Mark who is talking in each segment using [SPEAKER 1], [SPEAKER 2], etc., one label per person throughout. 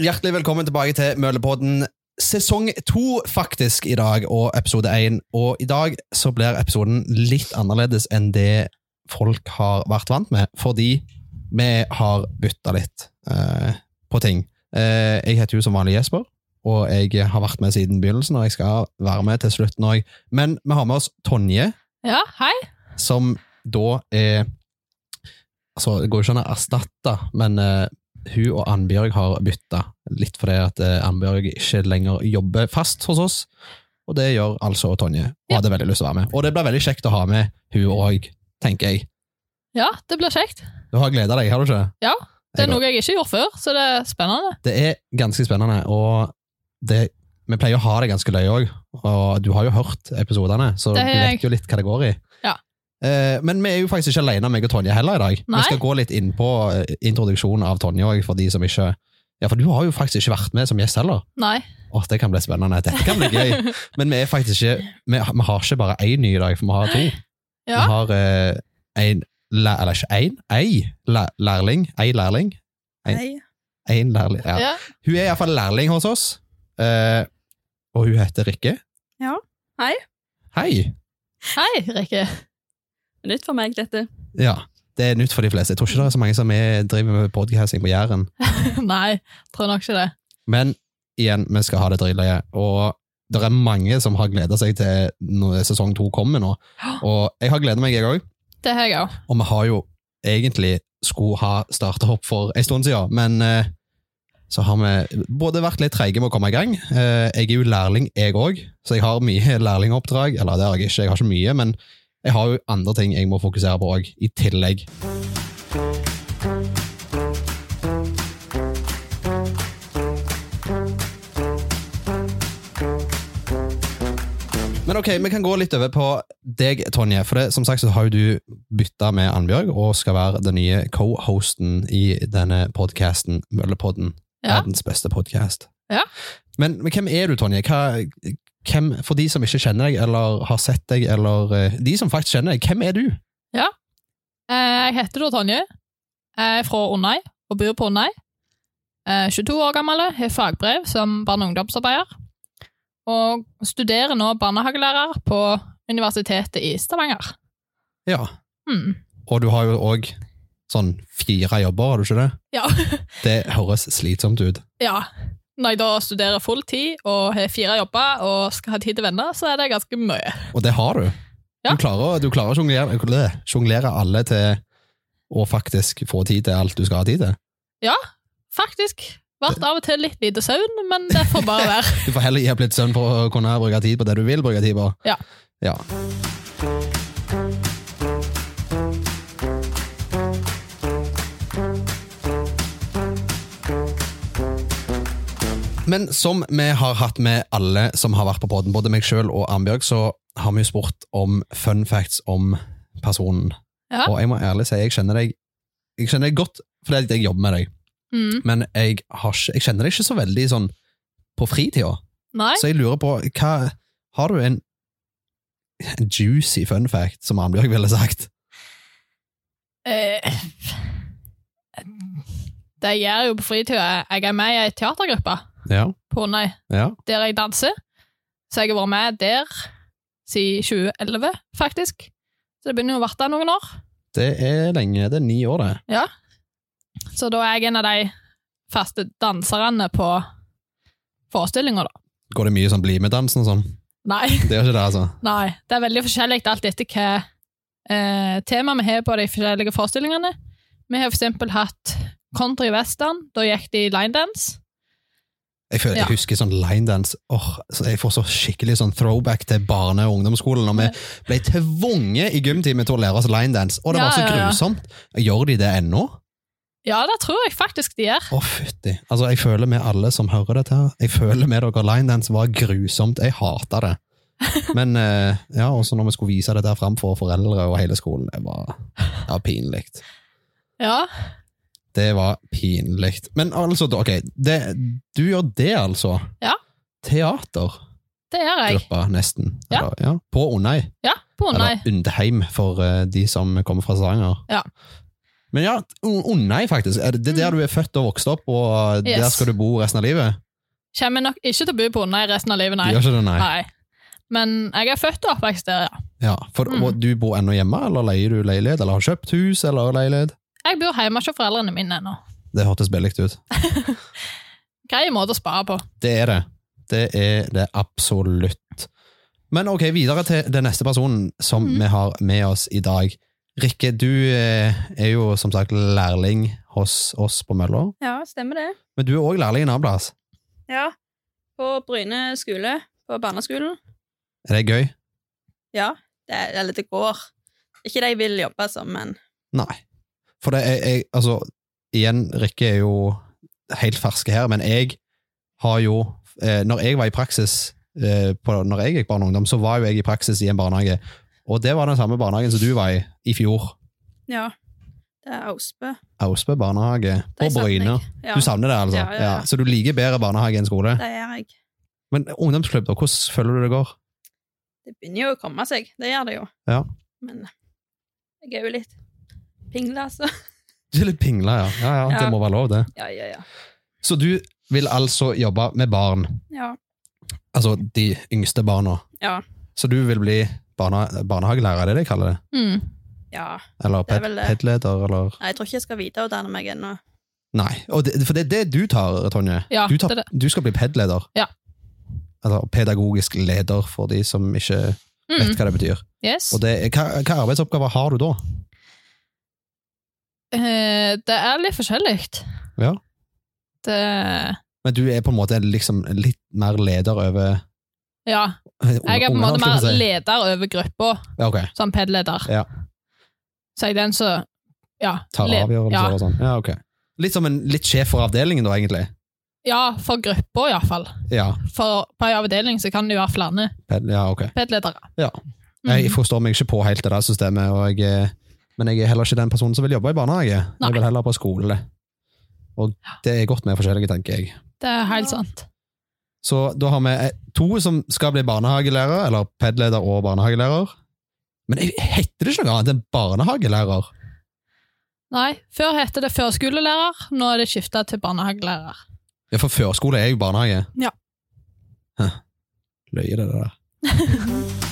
[SPEAKER 1] Hjertelig velkommen tilbake til Mølepodden sesong to, faktisk, i dag, og episode én. Og i dag så blir episoden litt annerledes enn det folk har vært vant med, fordi vi har bytta litt eh, på ting. Eh, jeg heter jo som vanlig Jesper, og jeg har vært med siden begynnelsen, og jeg skal være med til slutten òg. Men vi har med oss Tonje,
[SPEAKER 2] Ja, hei.
[SPEAKER 1] som da er Altså, det går jo ikke an å erstatte, men eh, hun og Annbjørg har bytta. Litt fordi at eh, Annbjørg ikke lenger jobber fast hos oss. Og det gjør altså Tonje, og
[SPEAKER 2] Ja.
[SPEAKER 1] hadde veldig lyst til å være med. Og det blir veldig kjekt å ha med hun òg, tenker jeg.
[SPEAKER 2] Ja, det blir kjekt.
[SPEAKER 1] Du har gleda deg, har du ikke?
[SPEAKER 2] Ja, Det
[SPEAKER 1] Jeg
[SPEAKER 2] er noe jeg ikke gjorde før, så det er spennende.
[SPEAKER 1] Det er ganske spennende, og det, vi pleier å ha det ganske løye òg. Og du har jo hørt episodene, så du
[SPEAKER 2] Det har jeg.
[SPEAKER 1] vet jo litt hva det går i.
[SPEAKER 2] Ja.
[SPEAKER 1] Eh, men vi er jo faktisk ikke alene, meg og Tonje heller i dag.
[SPEAKER 2] Nei.
[SPEAKER 1] Vi skal gå litt inn på eh, introduksjonen av Tonje òg, for de som ikke Ja, for du har jo faktisk ikke vært med som gjest heller.
[SPEAKER 2] Nei.
[SPEAKER 1] Åh, det kan bli spennende. Dette kan bli gøy. Men vi er faktisk ikke Vi, vi har ikke bare én ny i dag, for vi har to.
[SPEAKER 2] Ja.
[SPEAKER 1] Vi har eh, en læ- Eller ikke én, ei læ- lærling. Ei lærling.
[SPEAKER 3] Hei.
[SPEAKER 1] Én lærling. Ja.
[SPEAKER 2] Ja.
[SPEAKER 1] Hun er iallfall lærling hos oss, eh, og hun heter Rikke.
[SPEAKER 3] Ja. Hei.
[SPEAKER 1] Hei!
[SPEAKER 2] Hei, Rikke.
[SPEAKER 3] Nytt for meg, dette.
[SPEAKER 1] Ja, det er nytt for de fleste. Jeg tror ikke det er så mange som er, driver med podcasting på Jæren.
[SPEAKER 2] Nei, tror nok ikke det.
[SPEAKER 1] Men igjen, vi skal ha det drittløye, og det er mange som har gleda seg til når sesong to kommer nå. Og jeg har gleda meg, jeg òg.
[SPEAKER 2] Det har jeg òg.
[SPEAKER 1] Og vi har jo egentlig skulle ha starta opp for en stund siden, men eh, så har vi både vært litt treige med å komme i gang. Eh, jeg er jo lærling, jeg òg, så jeg har mye lærlingoppdrag. Eller det har jeg ikke, jeg har ikke mye, men jeg har jo andre ting jeg må fokusere på òg, i tillegg. Men ok, vi kan gå litt over på deg, Tonje. For det, som sagt så har jo du bytta med Annbjørg, og skal være den nye co-hosten i denne podkasten, Møllepodden.
[SPEAKER 2] Ja.
[SPEAKER 1] Verdens beste podkast.
[SPEAKER 2] Ja.
[SPEAKER 1] Men, men hvem er du, Tonje? Hva, hvem, for de som ikke kjenner deg, eller har sett deg, eller eh, de som faktisk kjenner deg, hvem er du?
[SPEAKER 2] Eh, Jeg heter da Tonje. Jeg er fra Onnøy og bor på Onnøy. Eh, 22 år gammel, har fagbrev som barne- og ungdomsarbeider. Og studerer nå barnehagelærer på Universitetet i Stavanger.
[SPEAKER 1] Ja.
[SPEAKER 2] Hmm.
[SPEAKER 1] Og du har jo òg sånn fire jobber, har du ikke det?
[SPEAKER 2] Ja.
[SPEAKER 1] Det høres slitsomt ut.
[SPEAKER 2] Ja. Når jeg da studerer full tid og har fire jobber og skal ha tid til venner, så er det ganske mye.
[SPEAKER 1] Og det har du.
[SPEAKER 2] Ja.
[SPEAKER 1] Du klarer, du klarer å sjonglere- øh, sjonglere alle til å faktisk få tid til alt du skal ha tid til.
[SPEAKER 2] Faktisk. Vært av og til litt lite søvn, men det får bare være.
[SPEAKER 1] Du får heller gi opp litt søvn for å kunne bruke tid på det du vil bruke tid på.
[SPEAKER 2] Ja.
[SPEAKER 1] Ja. Men som vi har hatt med alle som har vært på podden, både meg sjøl og Arnbjørg, så har vi jo spurt om fun facts om personen.
[SPEAKER 2] Ja.
[SPEAKER 1] Og jeg må ærlig si, jeg kjenner deg, jeg kjenner deg godt fordi at jeg jobber med deg
[SPEAKER 2] Mm.
[SPEAKER 1] men jeg, har ikke, jeg kjenner det ikke så veldig sånn på fritida.
[SPEAKER 2] Nei.
[SPEAKER 1] Så jeg lurer på, hva, har du en, en juicy fun fact, som Arnbjørg ville sagt?
[SPEAKER 2] Eh, det jeg gjør jo på fritida, er- jeg er med i ei teatergruppe
[SPEAKER 1] Ja.
[SPEAKER 2] på Ånøy,
[SPEAKER 1] Ja.
[SPEAKER 2] der jeg danser. Så jeg har vært med der siden 2011, faktisk. Så det begynner jo å varte noen år.
[SPEAKER 1] Det er lenge, det er ni år det.
[SPEAKER 2] Så da er jeg en av de faste danserne på forestillinga, da.
[SPEAKER 1] Går det mye sånn bli med dansen og sånn?
[SPEAKER 2] Nei.
[SPEAKER 1] Det gjør ikke det, altså.
[SPEAKER 2] Nei, det er veldig forskjellig alt etter hva eh, tema vi har på de forskjellige forestillingene. Vi har for eksempel hatt country western, da gikk de line dance.
[SPEAKER 1] Jeg, føler, jeg
[SPEAKER 2] Ja.
[SPEAKER 1] husker sånn linedance. Åh, så jeg får så skikkelig sånn throwback til barne- og ungdomsskolen, når vi ble tvunget i gymtimen til å lære oss linedance. Og det
[SPEAKER 2] Ja,
[SPEAKER 1] var så
[SPEAKER 2] ja, ja.
[SPEAKER 1] grusomt. Gjør de det ennå?
[SPEAKER 2] Ja, det tror jeg faktisk de gjør.
[SPEAKER 1] Å, fytti. Altså, jeg føler med alle som hører dette her. Jeg føler med dere linedance var grusomt. Jeg hata det. Men eh, ja, også når vi skulle vise dette her fram for foreldre og hele skolen, det var, det var pinlig.
[SPEAKER 2] Ja.
[SPEAKER 1] Det var pinlig. Men altså, ok, det, du gjør det, altså?
[SPEAKER 2] Ja.
[SPEAKER 1] Teatergruppa,
[SPEAKER 2] Det gjør jeg.
[SPEAKER 1] nesten.
[SPEAKER 2] Ja.
[SPEAKER 1] Eller, ja. På Onei.
[SPEAKER 2] Ja, på Onøy.
[SPEAKER 1] Eller Undheim, for eh, de som kommer fra Stavanger.
[SPEAKER 2] Ja. Mm.
[SPEAKER 1] Men ja, Onnei, faktisk. Er det- Det er der du er født og vokst opp, og eh, der
[SPEAKER 2] Yes.
[SPEAKER 1] skal du bo resten av livet?
[SPEAKER 2] Kommer nok ikke til å bo på Onnei resten av livet,
[SPEAKER 1] Du
[SPEAKER 2] nei.
[SPEAKER 1] gjør ikke det, nei.
[SPEAKER 2] nei. Men jeg er født og oppvokst der, ja.
[SPEAKER 1] Ja, for,
[SPEAKER 2] Mm.
[SPEAKER 1] Og du bor ennå hjemme, eller leier du leilighet, eller har kjøpt hus, eller leilighet?
[SPEAKER 2] Jeg bor hjemme hos foreldrene mine ennå.
[SPEAKER 1] Det hørtes billig ut.
[SPEAKER 2] Grei måte å spare på.
[SPEAKER 1] Det er det. Det er det absolutt. Men ok, videre til den neste personen som
[SPEAKER 3] Mm.
[SPEAKER 1] vi har med oss i dag. Rikke, du eh, er jo som sagt lærling hos oss på Møller,
[SPEAKER 3] Ja, stemmer det.
[SPEAKER 1] men du er òg lærling en annen plass.
[SPEAKER 3] Ja. På Bryne skole, på barneskolen.
[SPEAKER 1] Er det gøy?
[SPEAKER 3] Ja, det, er- eller det går. Ikke det jeg vil jobbe som, men
[SPEAKER 1] Nei. For det er jeg, altså, igjen, Rikke er jo helt ferske her, men jeg har jo, eh, når jeg var i praksis, eh, på, når jeg gikk barn og ungdom, så var jo jeg i praksis i en barnehage, og det var den samme barnehagen som du var i, i fjor,
[SPEAKER 3] ja. Det er Ausbø.
[SPEAKER 1] Austbø barnehage på
[SPEAKER 3] De savner
[SPEAKER 1] Bryne.
[SPEAKER 3] jeg. Ja,
[SPEAKER 1] Du savner det altså?
[SPEAKER 3] Ja, ja, ja.
[SPEAKER 1] Så du liker bedre barnehage enn skole?
[SPEAKER 3] det gjør jeg.
[SPEAKER 1] Men ungdomsklubb da, hvordan føler du det går?
[SPEAKER 3] Det begynner jo å komme seg, det gjør det jo.
[SPEAKER 1] Ja.
[SPEAKER 3] Men eh, jeg er jo litt pingle, altså.
[SPEAKER 1] Du er litt pingla, ja. Ja, ja. Det
[SPEAKER 3] Ja.
[SPEAKER 1] må være lov det.
[SPEAKER 3] Ja, ja, ja.
[SPEAKER 1] Så du vil altså jobbe med barn?
[SPEAKER 3] Ja,
[SPEAKER 1] Altså de yngste barna.
[SPEAKER 3] Ja.
[SPEAKER 1] Så du vil bli barne, barnehagelærer, er det det de kaller det?
[SPEAKER 2] Mm.
[SPEAKER 3] ja.
[SPEAKER 1] Eller
[SPEAKER 3] Det er
[SPEAKER 1] ped,
[SPEAKER 3] vel det.
[SPEAKER 1] pedleder, eller
[SPEAKER 3] Nei, jeg tror ikke jeg skal videreutdanne meg ennå.
[SPEAKER 1] Nei, og det, for det er det du tar, Tonje.
[SPEAKER 2] Ja,
[SPEAKER 1] du, tar,
[SPEAKER 2] det er
[SPEAKER 1] du skal bli pedleder.
[SPEAKER 2] Ja.
[SPEAKER 1] Eller pedagogisk leder, for de som ikke vet
[SPEAKER 2] Mm.
[SPEAKER 1] hva det betyr.
[SPEAKER 2] Yes.
[SPEAKER 1] Og det, er- hva, hva arbeidsoppgaver har du da?
[SPEAKER 2] Eh, Det er litt forskjellig.
[SPEAKER 1] Ja.
[SPEAKER 2] Det
[SPEAKER 1] Men du er på en måte liksom litt mer leder over
[SPEAKER 2] Ja. Jeg er på en måte mer leder over gruppa,
[SPEAKER 1] Ja, ok.
[SPEAKER 2] som PED-leder.
[SPEAKER 1] Ja.
[SPEAKER 2] Så jeg er den som ja,
[SPEAKER 1] Tar
[SPEAKER 2] led-
[SPEAKER 1] avgjørelser
[SPEAKER 2] Ja,
[SPEAKER 1] og sånn. Ja, ok. Litt som en litt sjef for avdelingen, da, egentlig.
[SPEAKER 2] ja, for gruppa iallfall.
[SPEAKER 1] Ja,
[SPEAKER 2] For på en avdeling så kan det jo være flere
[SPEAKER 1] ped, ja ok.
[SPEAKER 2] PED-ledere.
[SPEAKER 1] Ja.
[SPEAKER 2] Mm.
[SPEAKER 1] Jeg forstår meg ikke på helt det der systemet, og jeg, eh, men jeg er heller ikke den personen som vil jobbe i barnehage.
[SPEAKER 2] Nei.
[SPEAKER 1] Jeg vil heller på skole. Og det er godt med forskjellige, tenker jeg.
[SPEAKER 2] Det er helt
[SPEAKER 3] Ja.
[SPEAKER 2] sant.
[SPEAKER 1] Så da har vi eh, to som skal bli barnehagelærer, eller pedleder og barnehagelærer. Men jeg- heter det ikke noe annet enn barnehagelærer?
[SPEAKER 2] Nei, før het det førskolelærer, nå er det skifta til barnehagelærer.
[SPEAKER 1] Ja, for førskole er jo barnehage.
[SPEAKER 2] Ja.
[SPEAKER 1] Hæ. Løye det der.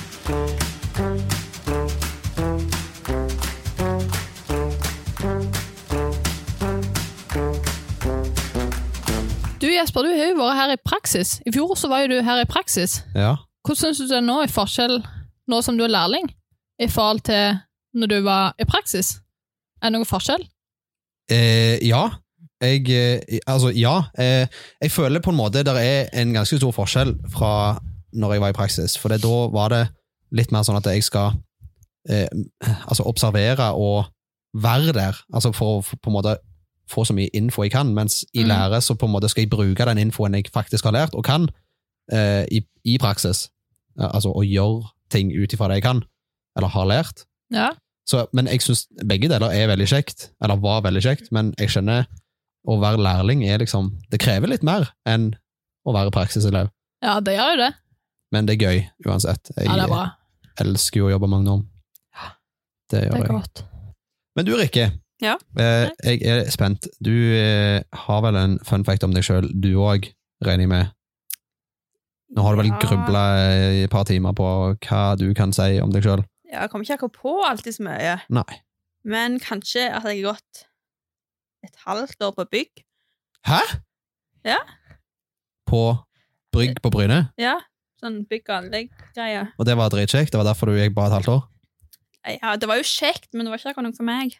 [SPEAKER 2] Du Jesper, du har jo vært her i praksis. I fjor så var jo du her i praksis.
[SPEAKER 1] Ja.
[SPEAKER 2] Hvordan syns du det er nå, i forskjell nå som du er lærling, i forhold til når du var i praksis? Er det noen forskjell?
[SPEAKER 1] Eh, ja. Jeg, eh, altså, ja. Eh, jeg føler på en måte det er en ganske stor forskjell fra når jeg var i praksis. For det, da var det litt mer sånn at jeg skal eh, altså observere og være der. Altså for å få- på en måte få så mye info jeg kan. Mens i
[SPEAKER 2] Mm.
[SPEAKER 1] lære så på en måte skal jeg bruke den infoen jeg faktisk har lært og kan, eh, i, i praksis. Ja, Altså å gjøre ting ut ifra det jeg kan, eller har lært.
[SPEAKER 2] Ja.
[SPEAKER 1] Så, men jeg syns begge deler er veldig kjekt, eller var veldig kjekt, men jeg skjønner å være lærling er liksom Det krever litt mer enn å være praksiselev,
[SPEAKER 2] ja, det gjør jo det.
[SPEAKER 1] men det er gøy uansett. Jeg
[SPEAKER 2] Ja, det er bra.
[SPEAKER 1] elsker jo å jobbe med ungdom. Det
[SPEAKER 2] Det
[SPEAKER 1] gjør
[SPEAKER 2] er
[SPEAKER 1] jeg.
[SPEAKER 2] godt.
[SPEAKER 1] Men du, Rikke.
[SPEAKER 3] Ja.
[SPEAKER 1] Eh, jeg er spent. Du eh, har vel en fun fact om deg sjøl, du òg, regner jeg med? Nå har du vel
[SPEAKER 3] Ja.
[SPEAKER 1] grubla i et par timer på hva du kan si om deg sjøl?
[SPEAKER 3] Ja, jeg kommer ikke akkurat på alltid så mye.
[SPEAKER 1] Nei.
[SPEAKER 3] Men kanskje at jeg har gått et halvt år på bygg.
[SPEAKER 1] Hæ?!
[SPEAKER 3] Ja.
[SPEAKER 1] På Brygg på Bryne?
[SPEAKER 3] Ja, sånn bygg- og anlegg-greie.
[SPEAKER 1] Og det var dritkjekt. Det var derfor du gikk bare et halvt år.
[SPEAKER 3] Ja, det var jo kjekt, men det var ikke akkurat noe for meg.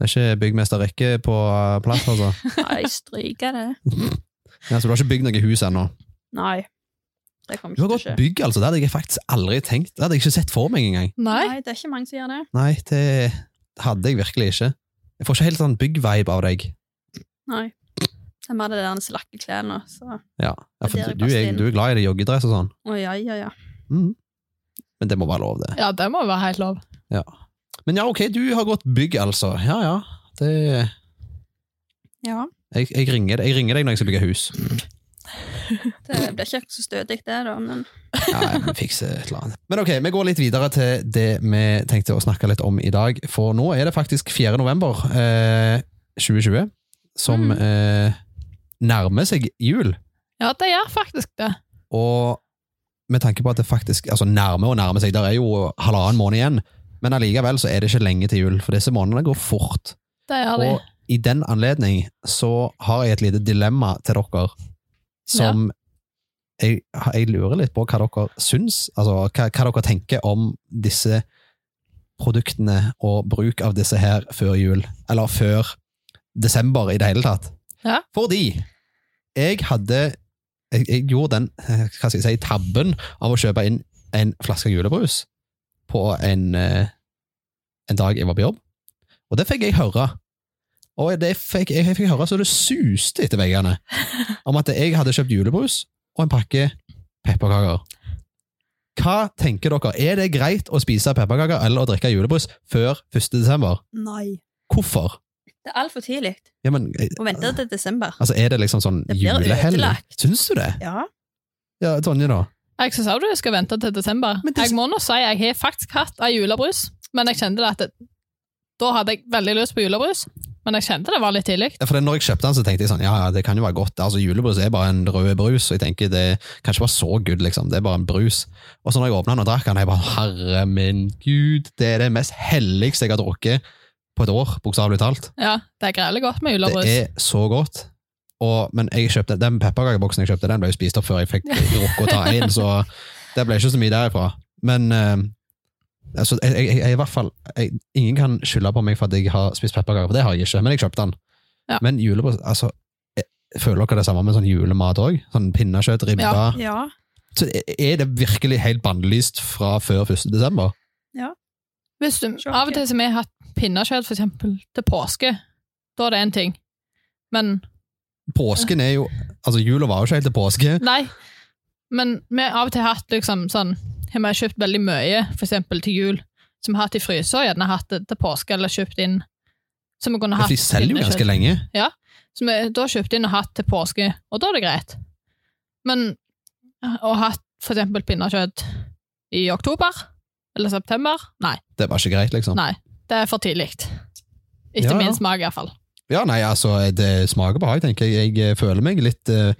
[SPEAKER 1] Det er ikke byggmester Rikke på eh, plass, altså.
[SPEAKER 3] Nei, jeg stryker det.
[SPEAKER 1] Ja, så du har ikke bygd noe hus ennå?
[SPEAKER 3] Nei. Det kommer
[SPEAKER 1] Du har
[SPEAKER 3] ikke til å
[SPEAKER 1] gått
[SPEAKER 3] skje.
[SPEAKER 1] bygg, altså. Det hadde jeg faktisk aldri tenkt. Det hadde jeg ikke sett for meg engang.
[SPEAKER 2] Nei?
[SPEAKER 3] Nei, det er ikke mange som gjør det.
[SPEAKER 1] Nei, det hadde jeg virkelig ikke. Jeg får ikke helt sånn bygg-vibe av deg.
[SPEAKER 3] Nei. Det er mer det der slakke klærne, så
[SPEAKER 1] Ja, ja
[SPEAKER 3] Det er
[SPEAKER 1] for
[SPEAKER 3] det
[SPEAKER 1] du er,
[SPEAKER 3] passer inn.
[SPEAKER 1] du er glad i det joggedress og sånn.
[SPEAKER 3] Å ja, ja, ja.
[SPEAKER 1] Mm. Men det må være lov, det.
[SPEAKER 2] Ja, det må jo være helt lov.
[SPEAKER 1] Men ja, ok, du har gått bygg, altså. Ja, ja. Det
[SPEAKER 3] Ja,
[SPEAKER 1] Jeg, jeg, ringer, jeg ringer deg når jeg skal bygge hus.
[SPEAKER 3] Det blir ikke så stødig, det, da, men
[SPEAKER 1] Ja, jeg må fikse et eller annet. Men ok, vi går litt videre til det vi tenkte å snakke litt om i dag. For nå er det faktisk 4. november eh, 2020 som
[SPEAKER 2] Mm.
[SPEAKER 1] eh, nærmer seg jul.
[SPEAKER 2] Ja, det gjør faktisk det.
[SPEAKER 1] Og med tanke på at det faktisk altså nærmer og nærmer seg, der er jo halvannen måned igjen, men allikevel så er det ikke lenge til jul, for disse månedene går fort.
[SPEAKER 2] Det gjør de.
[SPEAKER 1] Og i den anledning så har jeg et lite dilemma til dere som jeg, jeg lurer litt på hva dere syns, altså hva, hva dere tenker om disse produktene og bruk av disse her før jul, eller før desember i det hele tatt.
[SPEAKER 2] Ja.
[SPEAKER 1] Fordi jeg hadde jeg, jeg gjorde den eh, hva skal jeg si, tabben av å kjøpe inn en flaske julebrus på en, eh, en dag jeg var på jobb. Og det fikk jeg høre. Og det fikk, jeg fikk høre så det suste etter veggene om at jeg hadde kjøpt julebrus og en pakke pepperkaker. Hva tenker dere? Er det greit å spise pepperkaker eller å drikke julebrus før 1. desember?
[SPEAKER 3] nei.
[SPEAKER 1] Hvorfor?
[SPEAKER 3] Det er altfor tidlig
[SPEAKER 1] Ja, men, eh,
[SPEAKER 3] å vente til desember.
[SPEAKER 1] altså, er det liksom sånn
[SPEAKER 3] Det blir
[SPEAKER 1] julehell?
[SPEAKER 3] ødelagt.
[SPEAKER 1] Syns du det?
[SPEAKER 3] Ja.
[SPEAKER 1] Ja, Tonje, da?
[SPEAKER 2] Jeg syns også du skal vente til desember.
[SPEAKER 1] Men det-
[SPEAKER 2] Jeg må nå si jeg har faktisk hatt ei julebrus, men jeg kjente det at det, da hadde jeg veldig lyst på julebrus, men jeg kjente det var litt tidlig.
[SPEAKER 1] Ja, for det, når jeg kjøpte den, så tenkte jeg sånn, ja, ja, det kan jo være godt. Altså, julebrus er bare en rød brus, og jeg tenker det kan ikke være så good, liksom. Det er bare en brus. Og så når jeg åpnet den og drakk den, jeg bare, herre min Gud, det er det mest helligste jeg har drukket på et år, bokstavelig talt.
[SPEAKER 2] Ja, det er greit godt med
[SPEAKER 1] Det
[SPEAKER 2] julebrus.
[SPEAKER 1] er så godt. Og, men jeg kjøpte, den pepperkakeboksen jeg kjøpte, den ble jo spist opp før jeg fikk rukk å ta inn, så det ble ikke så mye derifra. Men eh, altså, jeg, jeg, jeg, i hvert fall, jeg, ingen kan skylde på meg for at jeg har spist pepperkaker, for det har jeg ikke, men jeg kjøpte den.
[SPEAKER 2] Ja.
[SPEAKER 1] Men julebrus, altså, jeg, føler dere det samme med sånn julemat òg? Sånn pinnekjøtt, ribba?
[SPEAKER 2] Ja.
[SPEAKER 3] Ja.
[SPEAKER 1] Så er det virkelig helt bannlyst fra før 1. desember?
[SPEAKER 2] Hvis du,
[SPEAKER 3] Sjokker.
[SPEAKER 2] av og til som jeg har hatt pinnekjøtt for eksempel til påske, da er det en ting. Men
[SPEAKER 1] Påsken er jo Altså, jula var jo ikke helt til påske.
[SPEAKER 2] nei. Men vi har av og til hatt liksom sånn Har vi kjøpt veldig mye, for eksempel til jul, som vi har hatt i frysa, gjerne hatt det til påske, eller kjøpt inn som vi kunne
[SPEAKER 1] For
[SPEAKER 2] hatt
[SPEAKER 1] de selger jo
[SPEAKER 2] pinnekjøtt.
[SPEAKER 1] ganske lenge.
[SPEAKER 2] som jeg da kjøpte inn og hatt til påske, og da er det greit. Men å ha hatt for eksempel pinnekjøtt i oktober eller september, nei,
[SPEAKER 1] Det var ikke greit, liksom.
[SPEAKER 2] Nei. det er for tidlig. Etter
[SPEAKER 1] Ja, ja.
[SPEAKER 2] min smak, iallfall.
[SPEAKER 1] Ja, nei, altså, det smaker behag, tenker jeg. Jeg eh, føler meg litt uh,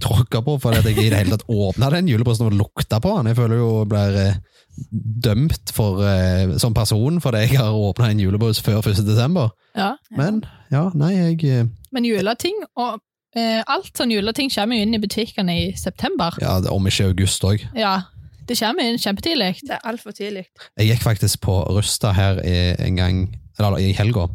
[SPEAKER 1] tråkka på fordi at jeg i det hele tatt åpna den julebrøsten og lukta på den. Jeg føler jo jeg blir eh, dømt for, eh, som person fordi jeg har åpna en julebrus før 1. desember.
[SPEAKER 2] Ja.
[SPEAKER 1] Men ja, nei, jeg eh,
[SPEAKER 2] Men juleting og eh, alt sånn juleting kommer jo inn i butikkene i september.
[SPEAKER 1] Ja, det- om ikke august òg.
[SPEAKER 2] Ja, det kommer inn kjempetidlig.
[SPEAKER 3] Det er altfor tidlig.
[SPEAKER 1] Jeg gikk faktisk på Rusta her i- en gang, eller i helga.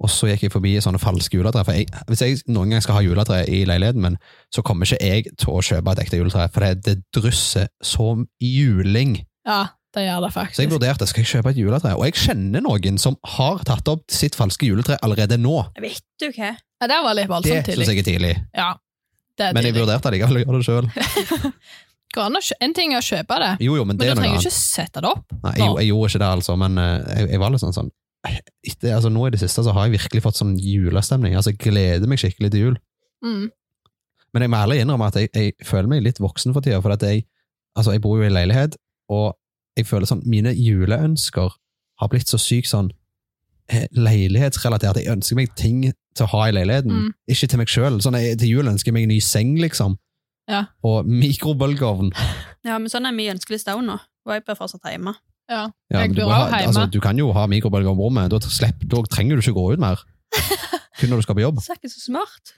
[SPEAKER 1] Og så gikk jeg forbi sånne falske juletre. For jeg, hvis jeg noen gang skal ha juletre i leiligheten min, så kommer ikke jeg til å kjøpe et ekte juletre, for det, det drysser som juling.
[SPEAKER 2] Ja, det gjør det
[SPEAKER 1] Så jeg
[SPEAKER 2] faktisk.
[SPEAKER 1] vurderte skal jeg kjøpe et juletre, og jeg kjenner noen som har tatt opp sitt falske juletre allerede nå.
[SPEAKER 3] Vet du hva?
[SPEAKER 2] Ja, det var litt
[SPEAKER 1] Det syns
[SPEAKER 2] voldsomt tidlig.
[SPEAKER 1] jeg er tidlig,
[SPEAKER 2] Ja, det er
[SPEAKER 1] men jeg
[SPEAKER 2] tidlig.
[SPEAKER 1] vurderte likevel å gjøre det sjøl.
[SPEAKER 2] Går an å kjø- En ting er å kjøpe det,
[SPEAKER 1] Jo, jo, men
[SPEAKER 2] men
[SPEAKER 1] det
[SPEAKER 2] du
[SPEAKER 1] er noe
[SPEAKER 2] trenger
[SPEAKER 1] annet.
[SPEAKER 2] ikke sette det opp.
[SPEAKER 1] Nei, jeg, jeg gjorde ikke det, altså, men eh, jeg, jeg var litt sånn sånn etter, altså, Nå i det siste så har jeg virkelig fått sånn julestemning. Altså, jeg gleder meg skikkelig til jul.
[SPEAKER 2] Mm.
[SPEAKER 1] Men jeg må ærlig innrømme at jeg, jeg føler meg litt voksen for tida, for at jeg, altså jeg bor jo i leilighet, og jeg føler sånn, mine juleønsker har blitt så sykt sånn eh, leilighetsrelatert. Jeg ønsker meg ting til å ha i leiligheten,
[SPEAKER 2] Mm.
[SPEAKER 1] ikke til meg sjøl. Sånn, jeg- til jul ønsker jeg meg en ny seng, liksom.
[SPEAKER 2] Ja.
[SPEAKER 1] Og mikrobølgeovn.
[SPEAKER 3] Ja, men sånn er min ønskeliste òg nå. Og jeg bør fortsatt hjemme.
[SPEAKER 2] Ja.
[SPEAKER 1] Ja,
[SPEAKER 2] Jeg
[SPEAKER 1] men du,
[SPEAKER 2] bor
[SPEAKER 1] må
[SPEAKER 2] også
[SPEAKER 1] ha,
[SPEAKER 2] hjemme.
[SPEAKER 1] altså, du kan jo ha mikrobølgeovn på rommet, da, slipp, da trenger du ikke gå ut mer. Kun når du skal på jobb.
[SPEAKER 3] Så er ikke så smart.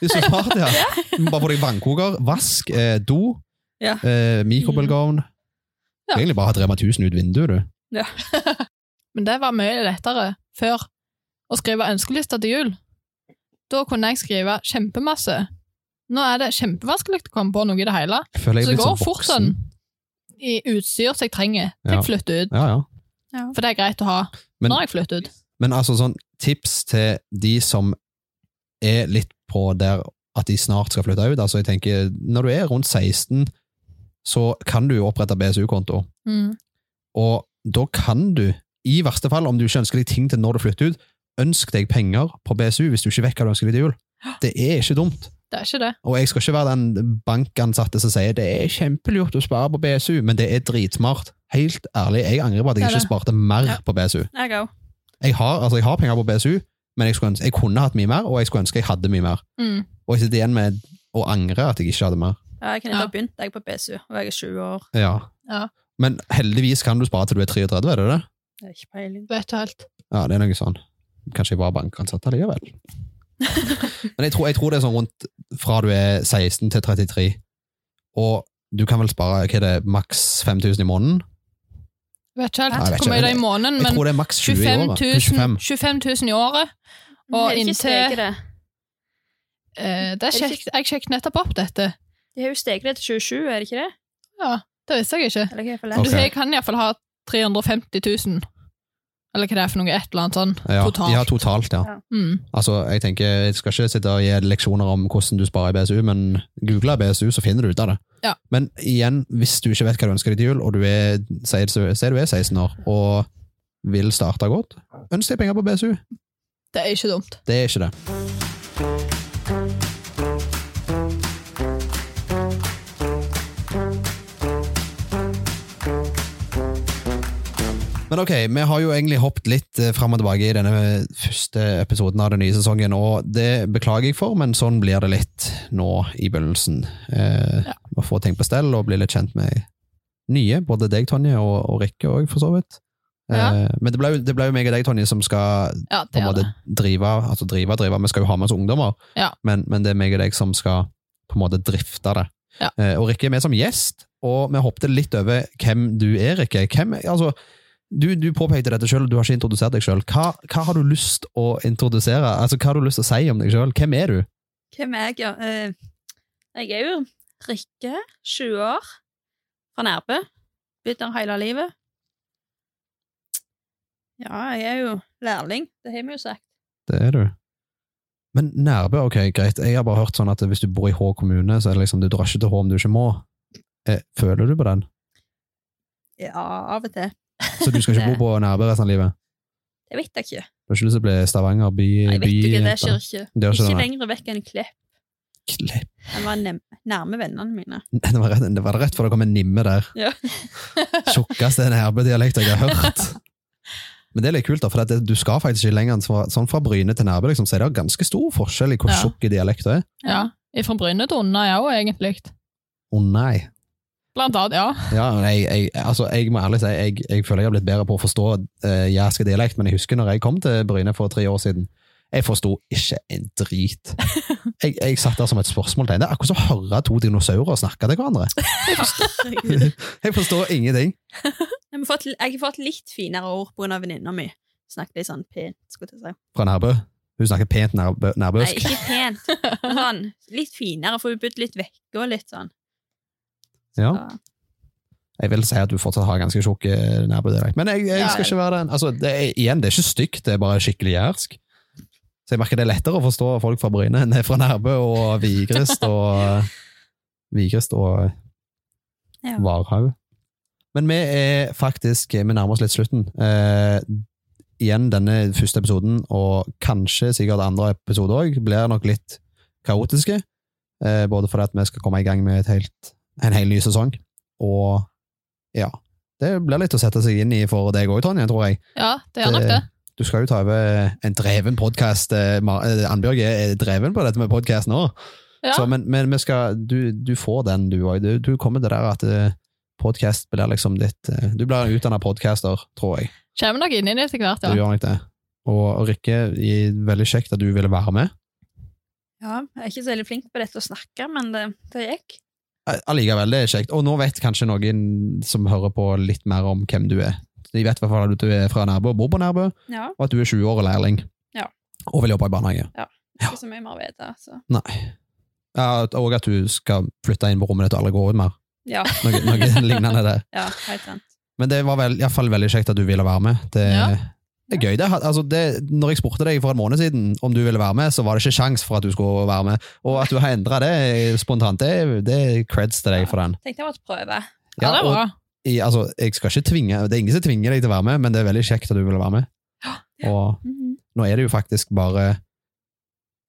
[SPEAKER 1] Det er så smart, ja. Du må bare få deg vannkoker, vask, eh, do,
[SPEAKER 3] Ja.
[SPEAKER 1] eh, mikrobølgeovn.
[SPEAKER 2] Ja.
[SPEAKER 1] Egentlig bare ha Rema 1000 ut vinduet, du.
[SPEAKER 2] Men det var mye lettere før å skrive ønskelister til jul. Da kunne jeg skrive kjempemasse. Nå er det kjempevanskelig å komme på noe i det hele.
[SPEAKER 1] Jeg føler jeg
[SPEAKER 2] Så
[SPEAKER 1] er
[SPEAKER 2] det
[SPEAKER 1] blitt
[SPEAKER 2] går
[SPEAKER 1] så
[SPEAKER 2] fort
[SPEAKER 1] voksen.
[SPEAKER 2] sånn i utstyr som jeg trenger til
[SPEAKER 1] Ja.
[SPEAKER 2] jeg flytter ut.
[SPEAKER 1] Ja, ja.
[SPEAKER 2] For det er greit å ha
[SPEAKER 1] Men-
[SPEAKER 2] når jeg flytter ut.
[SPEAKER 1] Men altså sånn tips til de som er litt på der at de snart skal flytte ut. Altså jeg tenker, når du er rundt 16, så kan du jo opprette BSU-konto.
[SPEAKER 2] Mm.
[SPEAKER 1] Og da kan du, i verste fall, om du ikke ønsker deg ting til når du flytter ut, ønsk deg penger på BSU hvis du ikke vet hva du ønsker deg til jul. Det er ikke dumt.
[SPEAKER 2] Det er ikke det.
[SPEAKER 1] Og jeg skal ikke være den bankansatte som sier det er kjempelurt å spare på BSU, men det er dritsmart. Helt ærlig, jeg angrer på at jeg
[SPEAKER 2] Det er
[SPEAKER 1] ikke
[SPEAKER 2] det.
[SPEAKER 1] sparte mer
[SPEAKER 3] Ja.
[SPEAKER 1] på BSU.
[SPEAKER 3] Jeg òg.
[SPEAKER 1] Jeg har, altså, jeg har penger på BSU, men jeg, skulle ønske, jeg kunne hatt mye mer, og jeg skulle ønske jeg hadde mye mer.
[SPEAKER 2] Mm.
[SPEAKER 1] Og jeg sitter igjen med å angre at jeg ikke hadde mer.
[SPEAKER 3] Ja, jeg kunne
[SPEAKER 2] Ja.
[SPEAKER 3] ikke ha begynt jeg på BSU, og jeg er 20 år.
[SPEAKER 1] Ja.
[SPEAKER 2] Ja.
[SPEAKER 1] Men heldigvis kan du spare til du er 33, er det det?
[SPEAKER 3] Det er ikke peiling.
[SPEAKER 2] Vet ikke helt.
[SPEAKER 1] Ja, det er noe sånn. Kanskje jeg var bankansatt allikevel. Men jeg tror, jeg tror det er sånn rundt fra du er 16 til 33, og du kan vel spare hva er det, maks 5000 i måneden?
[SPEAKER 2] Vet ikke
[SPEAKER 1] Nei, jeg
[SPEAKER 2] helt
[SPEAKER 1] vet
[SPEAKER 2] hvor mye
[SPEAKER 1] ikke.
[SPEAKER 2] det er i måneden,
[SPEAKER 1] Jeg
[SPEAKER 2] men
[SPEAKER 1] tror det er maks 20 i
[SPEAKER 2] 25
[SPEAKER 1] året.
[SPEAKER 2] 000,
[SPEAKER 1] 25.
[SPEAKER 2] 25 000 i året. Og
[SPEAKER 3] Men Mm, er det ikke
[SPEAKER 2] inntil-
[SPEAKER 3] steget det?
[SPEAKER 2] Eh, det er
[SPEAKER 3] det ikke-
[SPEAKER 2] sjekket, jeg sjekket nettopp opp dette.
[SPEAKER 3] De har jo steget det til 27, er det ikke det?
[SPEAKER 2] Ja, det visste jeg ikke.
[SPEAKER 3] Eller hva er det for
[SPEAKER 1] Ok.
[SPEAKER 2] Så jeg kan iallfall ha 350 000, eller hva det er for noe, et eller annet sånn
[SPEAKER 1] Ja,
[SPEAKER 2] totalt.
[SPEAKER 1] ja, totalt. Ja.
[SPEAKER 2] Mm.
[SPEAKER 1] Altså, jeg tenker, jeg skal ikke sitte og gi leksjoner om hvordan du sparer i BSU, men google BSU, så finner du ut av det.
[SPEAKER 2] Ja.
[SPEAKER 1] Men igjen, hvis du ikke vet hva du ønsker deg til jul, og du er, sier, sier du er 16 år, og vil starte godt, ønsk deg penger på BSU.
[SPEAKER 2] Det er ikke dumt.
[SPEAKER 1] Det er ikke det. Men ok, vi har jo egentlig hoppet litt eh, fram og tilbake i denne første episoden av den nye sesongen, og det beklager jeg for, men sånn blir det litt nå i begynnelsen. Eh,
[SPEAKER 2] Ja.
[SPEAKER 1] Å få ting på stell og bli litt kjent med nye, både deg, Tonje, og, og Rikke òg, for så vidt. Eh,
[SPEAKER 2] Ja.
[SPEAKER 1] Men det ble, jo- det ble jo meg og deg, Tonje, som skal
[SPEAKER 2] Ja,
[SPEAKER 1] på
[SPEAKER 2] det
[SPEAKER 1] en
[SPEAKER 2] er det.
[SPEAKER 1] måte drive, altså drive, drive. Vi skal jo ha med oss ungdommer,
[SPEAKER 2] Ja.
[SPEAKER 1] men, men det er meg og deg som skal på en måte drifte det.
[SPEAKER 2] Ja.
[SPEAKER 1] Eh, og Rikke er med som gjest, og vi hoppet litt over hvem du er, Rikke. Hvem, altså, du, du påpekte dette selv, du har ikke introdusert deg selv. Hva, hva har du lyst å introdusere? Altså, hva har du lyst til å si om deg selv? Hvem er du?
[SPEAKER 3] Hvem er jeg, ja? Eh, Jeg er jo Rikke, 20 år, fra Nærbø. Blitt der hele livet. Ja, jeg er jo lærling, det har vi jo sagt.
[SPEAKER 1] Det er du. Men Nærbø, ok, greit. Jeg har bare hørt sånn at hvis du bor i Hå kommune, så er det liksom, du drar ikke til Hå om du ikke må. Eh, føler du på den?
[SPEAKER 3] Ja, av og til.
[SPEAKER 1] Så du skal ikke bo på Nærbø resten av livet?
[SPEAKER 3] Det vet jeg ikke.
[SPEAKER 1] Du har ikke lyst til å bli Stavanger by?
[SPEAKER 3] Jeg vet ikke, det
[SPEAKER 1] byjente?
[SPEAKER 3] skjer ikke.
[SPEAKER 1] Det sånn gjør
[SPEAKER 3] Ikke
[SPEAKER 1] ikke det,
[SPEAKER 3] lenger vekk enn Klepp.
[SPEAKER 1] nei.
[SPEAKER 3] Jeg var nem- nærme vennene mine.
[SPEAKER 1] Det var, rett, det var rett før det kom en nimme der.
[SPEAKER 3] Ja.
[SPEAKER 1] Tjukkeste nærbedialekt jeg har hørt. Men det er litt kult, da, for at det, du skal faktisk ikke lenger enn fra, sånn fra Bryne til Nærbø, liksom, så er det ganske stor forskjell i hvor
[SPEAKER 2] Ja.
[SPEAKER 1] tjukk dialekten er.
[SPEAKER 2] Ja. Fra Bryne til Unna, ja, også, egentlig.
[SPEAKER 1] Å nei.
[SPEAKER 2] Blant annet, ja.
[SPEAKER 1] Ja, men jeg, jeg, altså, jeg må ærlig si, jeg, jeg føler jeg har blitt bedre på å forstå uh, jærske dialekt, men jeg husker når jeg kom til Bryne for tre år siden, jeg forsto ikke en drit. Jeg, jeg satt der som et spørsmålstegn. Det er akkurat som å høre to dinosaurer snakke til hverandre.
[SPEAKER 3] Herregud.
[SPEAKER 1] Jeg forstår ingenting.
[SPEAKER 3] Jeg har fått, jeg har fått litt finere ord på grunn av venninna mi. Snakket litt sånn pent, skulle jeg til å si.
[SPEAKER 1] fra Nærbø. Hun snakker pent nærbø,
[SPEAKER 3] Nei,
[SPEAKER 1] nærbøsk.
[SPEAKER 3] ikke pent. men Sånn, litt finere, for hun bodde litt vekke og litt sånn.
[SPEAKER 1] Ja.
[SPEAKER 3] Så,
[SPEAKER 1] Jeg vil si at du fortsatt har ganske tjukk eh, nærbødialekt. Men jeg, jeg
[SPEAKER 2] Ja,
[SPEAKER 1] skal
[SPEAKER 2] ja.
[SPEAKER 1] ikke være den. Altså, det er, igjen, det er ikke stygt, det er bare skikkelig jærsk. Så jeg merker det er lettere å forstå folk fra Bryne enn det er fra Nærbø og Vigrest og Vigrest og
[SPEAKER 3] Ja.
[SPEAKER 1] Varhaug. Men vi er faktisk Vi nærmer oss litt slutten. Eh, igjen denne første episoden, og kanskje sikkert andre episoder òg, blir nok litt kaotiske. Eh, både fordi at vi skal komme i gang med et helt, en hel ny sesong, og ja Det blir litt å sette seg inn i for deg òg, Tonje, tror jeg. Eh,
[SPEAKER 2] Ja, det gjør nok det.
[SPEAKER 1] Du skal jo ta over en dreven podkast. eh, Annbjørg er er dreven på dette med podkast nå.
[SPEAKER 2] Ja.
[SPEAKER 1] Så, men men vi skal, du, du får den, du òg. Du, du kommer til der at eh, podcast blir liksom ditt eh, Du blir en utdanna podcaster, tror jeg.
[SPEAKER 2] Kommer nok inn i det etter hvert,
[SPEAKER 1] Du
[SPEAKER 2] ja.
[SPEAKER 1] gjør nok det. Og og Rikke, i- veldig kjekt at du ville være med.
[SPEAKER 3] ja, jeg er ikke så veldig flink på dette å snakke, men det, det gikk.
[SPEAKER 1] Eh, Allikevel, det er kjekt. Og nå vet kanskje noen som hører på litt mer om hvem du er. De vet i hvert fall at du er fra Nærbø og bor på Nærbø,
[SPEAKER 3] Ja,
[SPEAKER 1] og at du er 20 år og lærling.
[SPEAKER 3] Ja.
[SPEAKER 1] Og vil jobbe i barnehage.
[SPEAKER 3] ikke så mye mer å vite. Så.
[SPEAKER 1] Nei. Ja, og at du skal flytte inn på rommet ditt og aldri gå ut mer.
[SPEAKER 3] Ja,
[SPEAKER 1] Noe, noe lignende der.
[SPEAKER 3] ja, helt sant.
[SPEAKER 1] Men det var vel, i hvert fall veldig kjekt at du ville være med. Det,
[SPEAKER 2] Ja.
[SPEAKER 1] det er gøy. Det, har- altså det, når jeg spurte deg for en måned siden om du ville være med, så var det ikke sjans for at du skulle være med. Og at du har endra det spontant, det, det er creds til deg for den.
[SPEAKER 3] Tenkte jeg måtte prøve.
[SPEAKER 2] Ja, det er
[SPEAKER 1] og,
[SPEAKER 2] bra.
[SPEAKER 1] i, altså, jeg skal ikke tvinge, det er ingen som tvinger deg til å være med, men det er veldig kjekt at du ville være med. Og
[SPEAKER 3] Mhm.
[SPEAKER 1] nå er det jo faktisk bare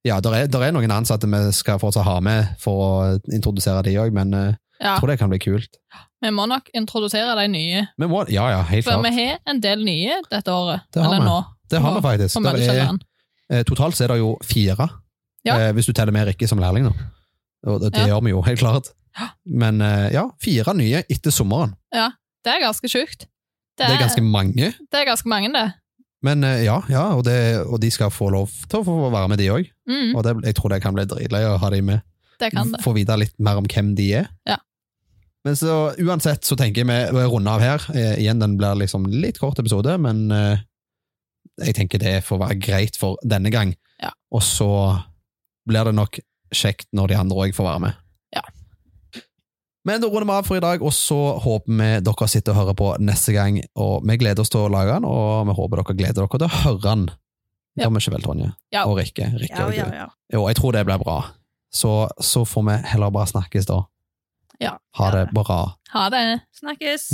[SPEAKER 1] Ja, der er, der er noen ansatte vi skal fortsatt ha med for å introdusere de òg, men eh,
[SPEAKER 2] Ja,
[SPEAKER 1] jeg tror det kan bli kult.
[SPEAKER 2] Vi må nok introdusere de nye,
[SPEAKER 1] Men må, ja, ja, helt
[SPEAKER 2] for
[SPEAKER 1] klart.
[SPEAKER 2] vi har en del nye dette året.
[SPEAKER 1] Det har
[SPEAKER 2] eller
[SPEAKER 1] vi.
[SPEAKER 2] nå.
[SPEAKER 1] Det har vi
[SPEAKER 2] på
[SPEAKER 1] faktisk. Der er,
[SPEAKER 2] Møllekjelleren.
[SPEAKER 1] eh, totalt så er det jo fire,
[SPEAKER 2] Ja.
[SPEAKER 1] eh, hvis du teller med Rikke som lærling nå. Og det, det
[SPEAKER 2] Ja.
[SPEAKER 1] gjør vi jo, helt klart. Men eh, ja, fire nye etter sommeren.
[SPEAKER 2] Det er ganske sjukt.
[SPEAKER 1] Det er ganske mange.
[SPEAKER 2] det er ganske mange, det.
[SPEAKER 1] Men eh, ja, ja og, det, og de skal få lov til å få være med, de òg.
[SPEAKER 2] Mm,
[SPEAKER 1] Og det, jeg tror det kan bli dritløy å ha de med.
[SPEAKER 2] det kan det.
[SPEAKER 1] Få vite litt mer om hvem de er.
[SPEAKER 2] Ja.
[SPEAKER 1] Men så uansett så tenker jeg vi vi runder av her. Eh, igjen, den blir liksom litt kort episode, men eh, jeg tenker det får være greit for denne gang.
[SPEAKER 2] Ja.
[SPEAKER 1] Og så blir det nok kjekt når de andre òg får være med.
[SPEAKER 2] Ja.
[SPEAKER 1] Men da runder vi av for i dag, og så håper vi dere sitter og hører på neste gang. Og vi gleder oss til å lage den, og vi håper dere gleder dere til å høre den. Det
[SPEAKER 2] Ja.
[SPEAKER 1] gjør vi ikke vel, Tonje?
[SPEAKER 2] Ja.
[SPEAKER 1] Og Rikke. Rikke
[SPEAKER 3] Ja,
[SPEAKER 1] og du.
[SPEAKER 3] ja, ja.
[SPEAKER 1] Jo, jeg tror det blir bra. Så, så får vi heller bare snakkes da.
[SPEAKER 2] Ja.
[SPEAKER 1] Ha det bra.
[SPEAKER 2] Ha det.
[SPEAKER 3] Snakkes.